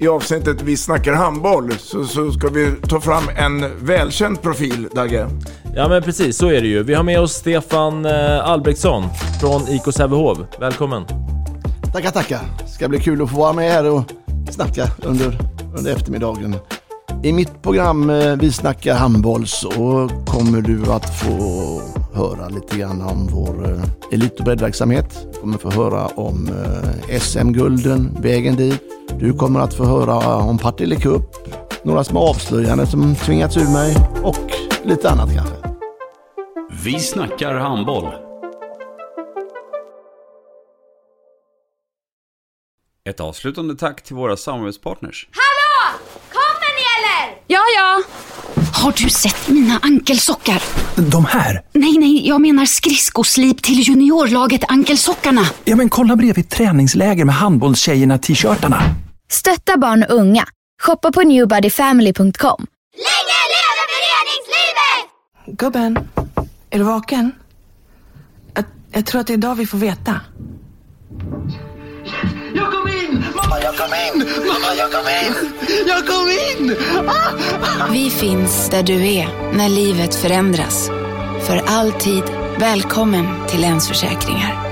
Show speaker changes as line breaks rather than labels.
i avsnittet Vi snackar handboll så, så ska vi ta fram en välkänd profil, Dagge.
Ja men precis, så är det ju. Vi har med oss Stefan eh, Albrektsson från IK Sävehof. Välkommen!
Tackar, tackar. Ska bli kul att få vara med här och snacka under, under eftermiddagen. I mitt program eh, Vi snackar handboll så kommer du att få höra lite grann om vår eh, elit och breddverksamhet. Du kommer få höra om eh, SM-gulden, vägen dit. Du kommer att få höra om Partille Cup, några små avslöjanden som tvingats ur mig och lite annat kanske.
Vi snackar handboll. Ett avslutande tack till våra samarbetspartners.
Hallå! Kommer ni eller?
Ja, ja. Har du sett mina ankelsockar?
De här?
Nej, nej, jag menar skridskoslip till juniorlaget Ankelsockarna.
Ja, men kolla bredvid träningsläger med handbollstjejerna-t-shirtarna.
Stötta barn och unga. Shoppa på newbodyfamily.com.
Länge leve föreningslivet!
Gubben, är du vaken? Jag, jag tror att det är idag vi får veta.
Jag kom in! Mamma, jag kom in! Mamma, jag kom in! Jag kom in! Ah!
Vi
finns
där du är när livet förändras. För alltid välkommen till Länsförsäkringar.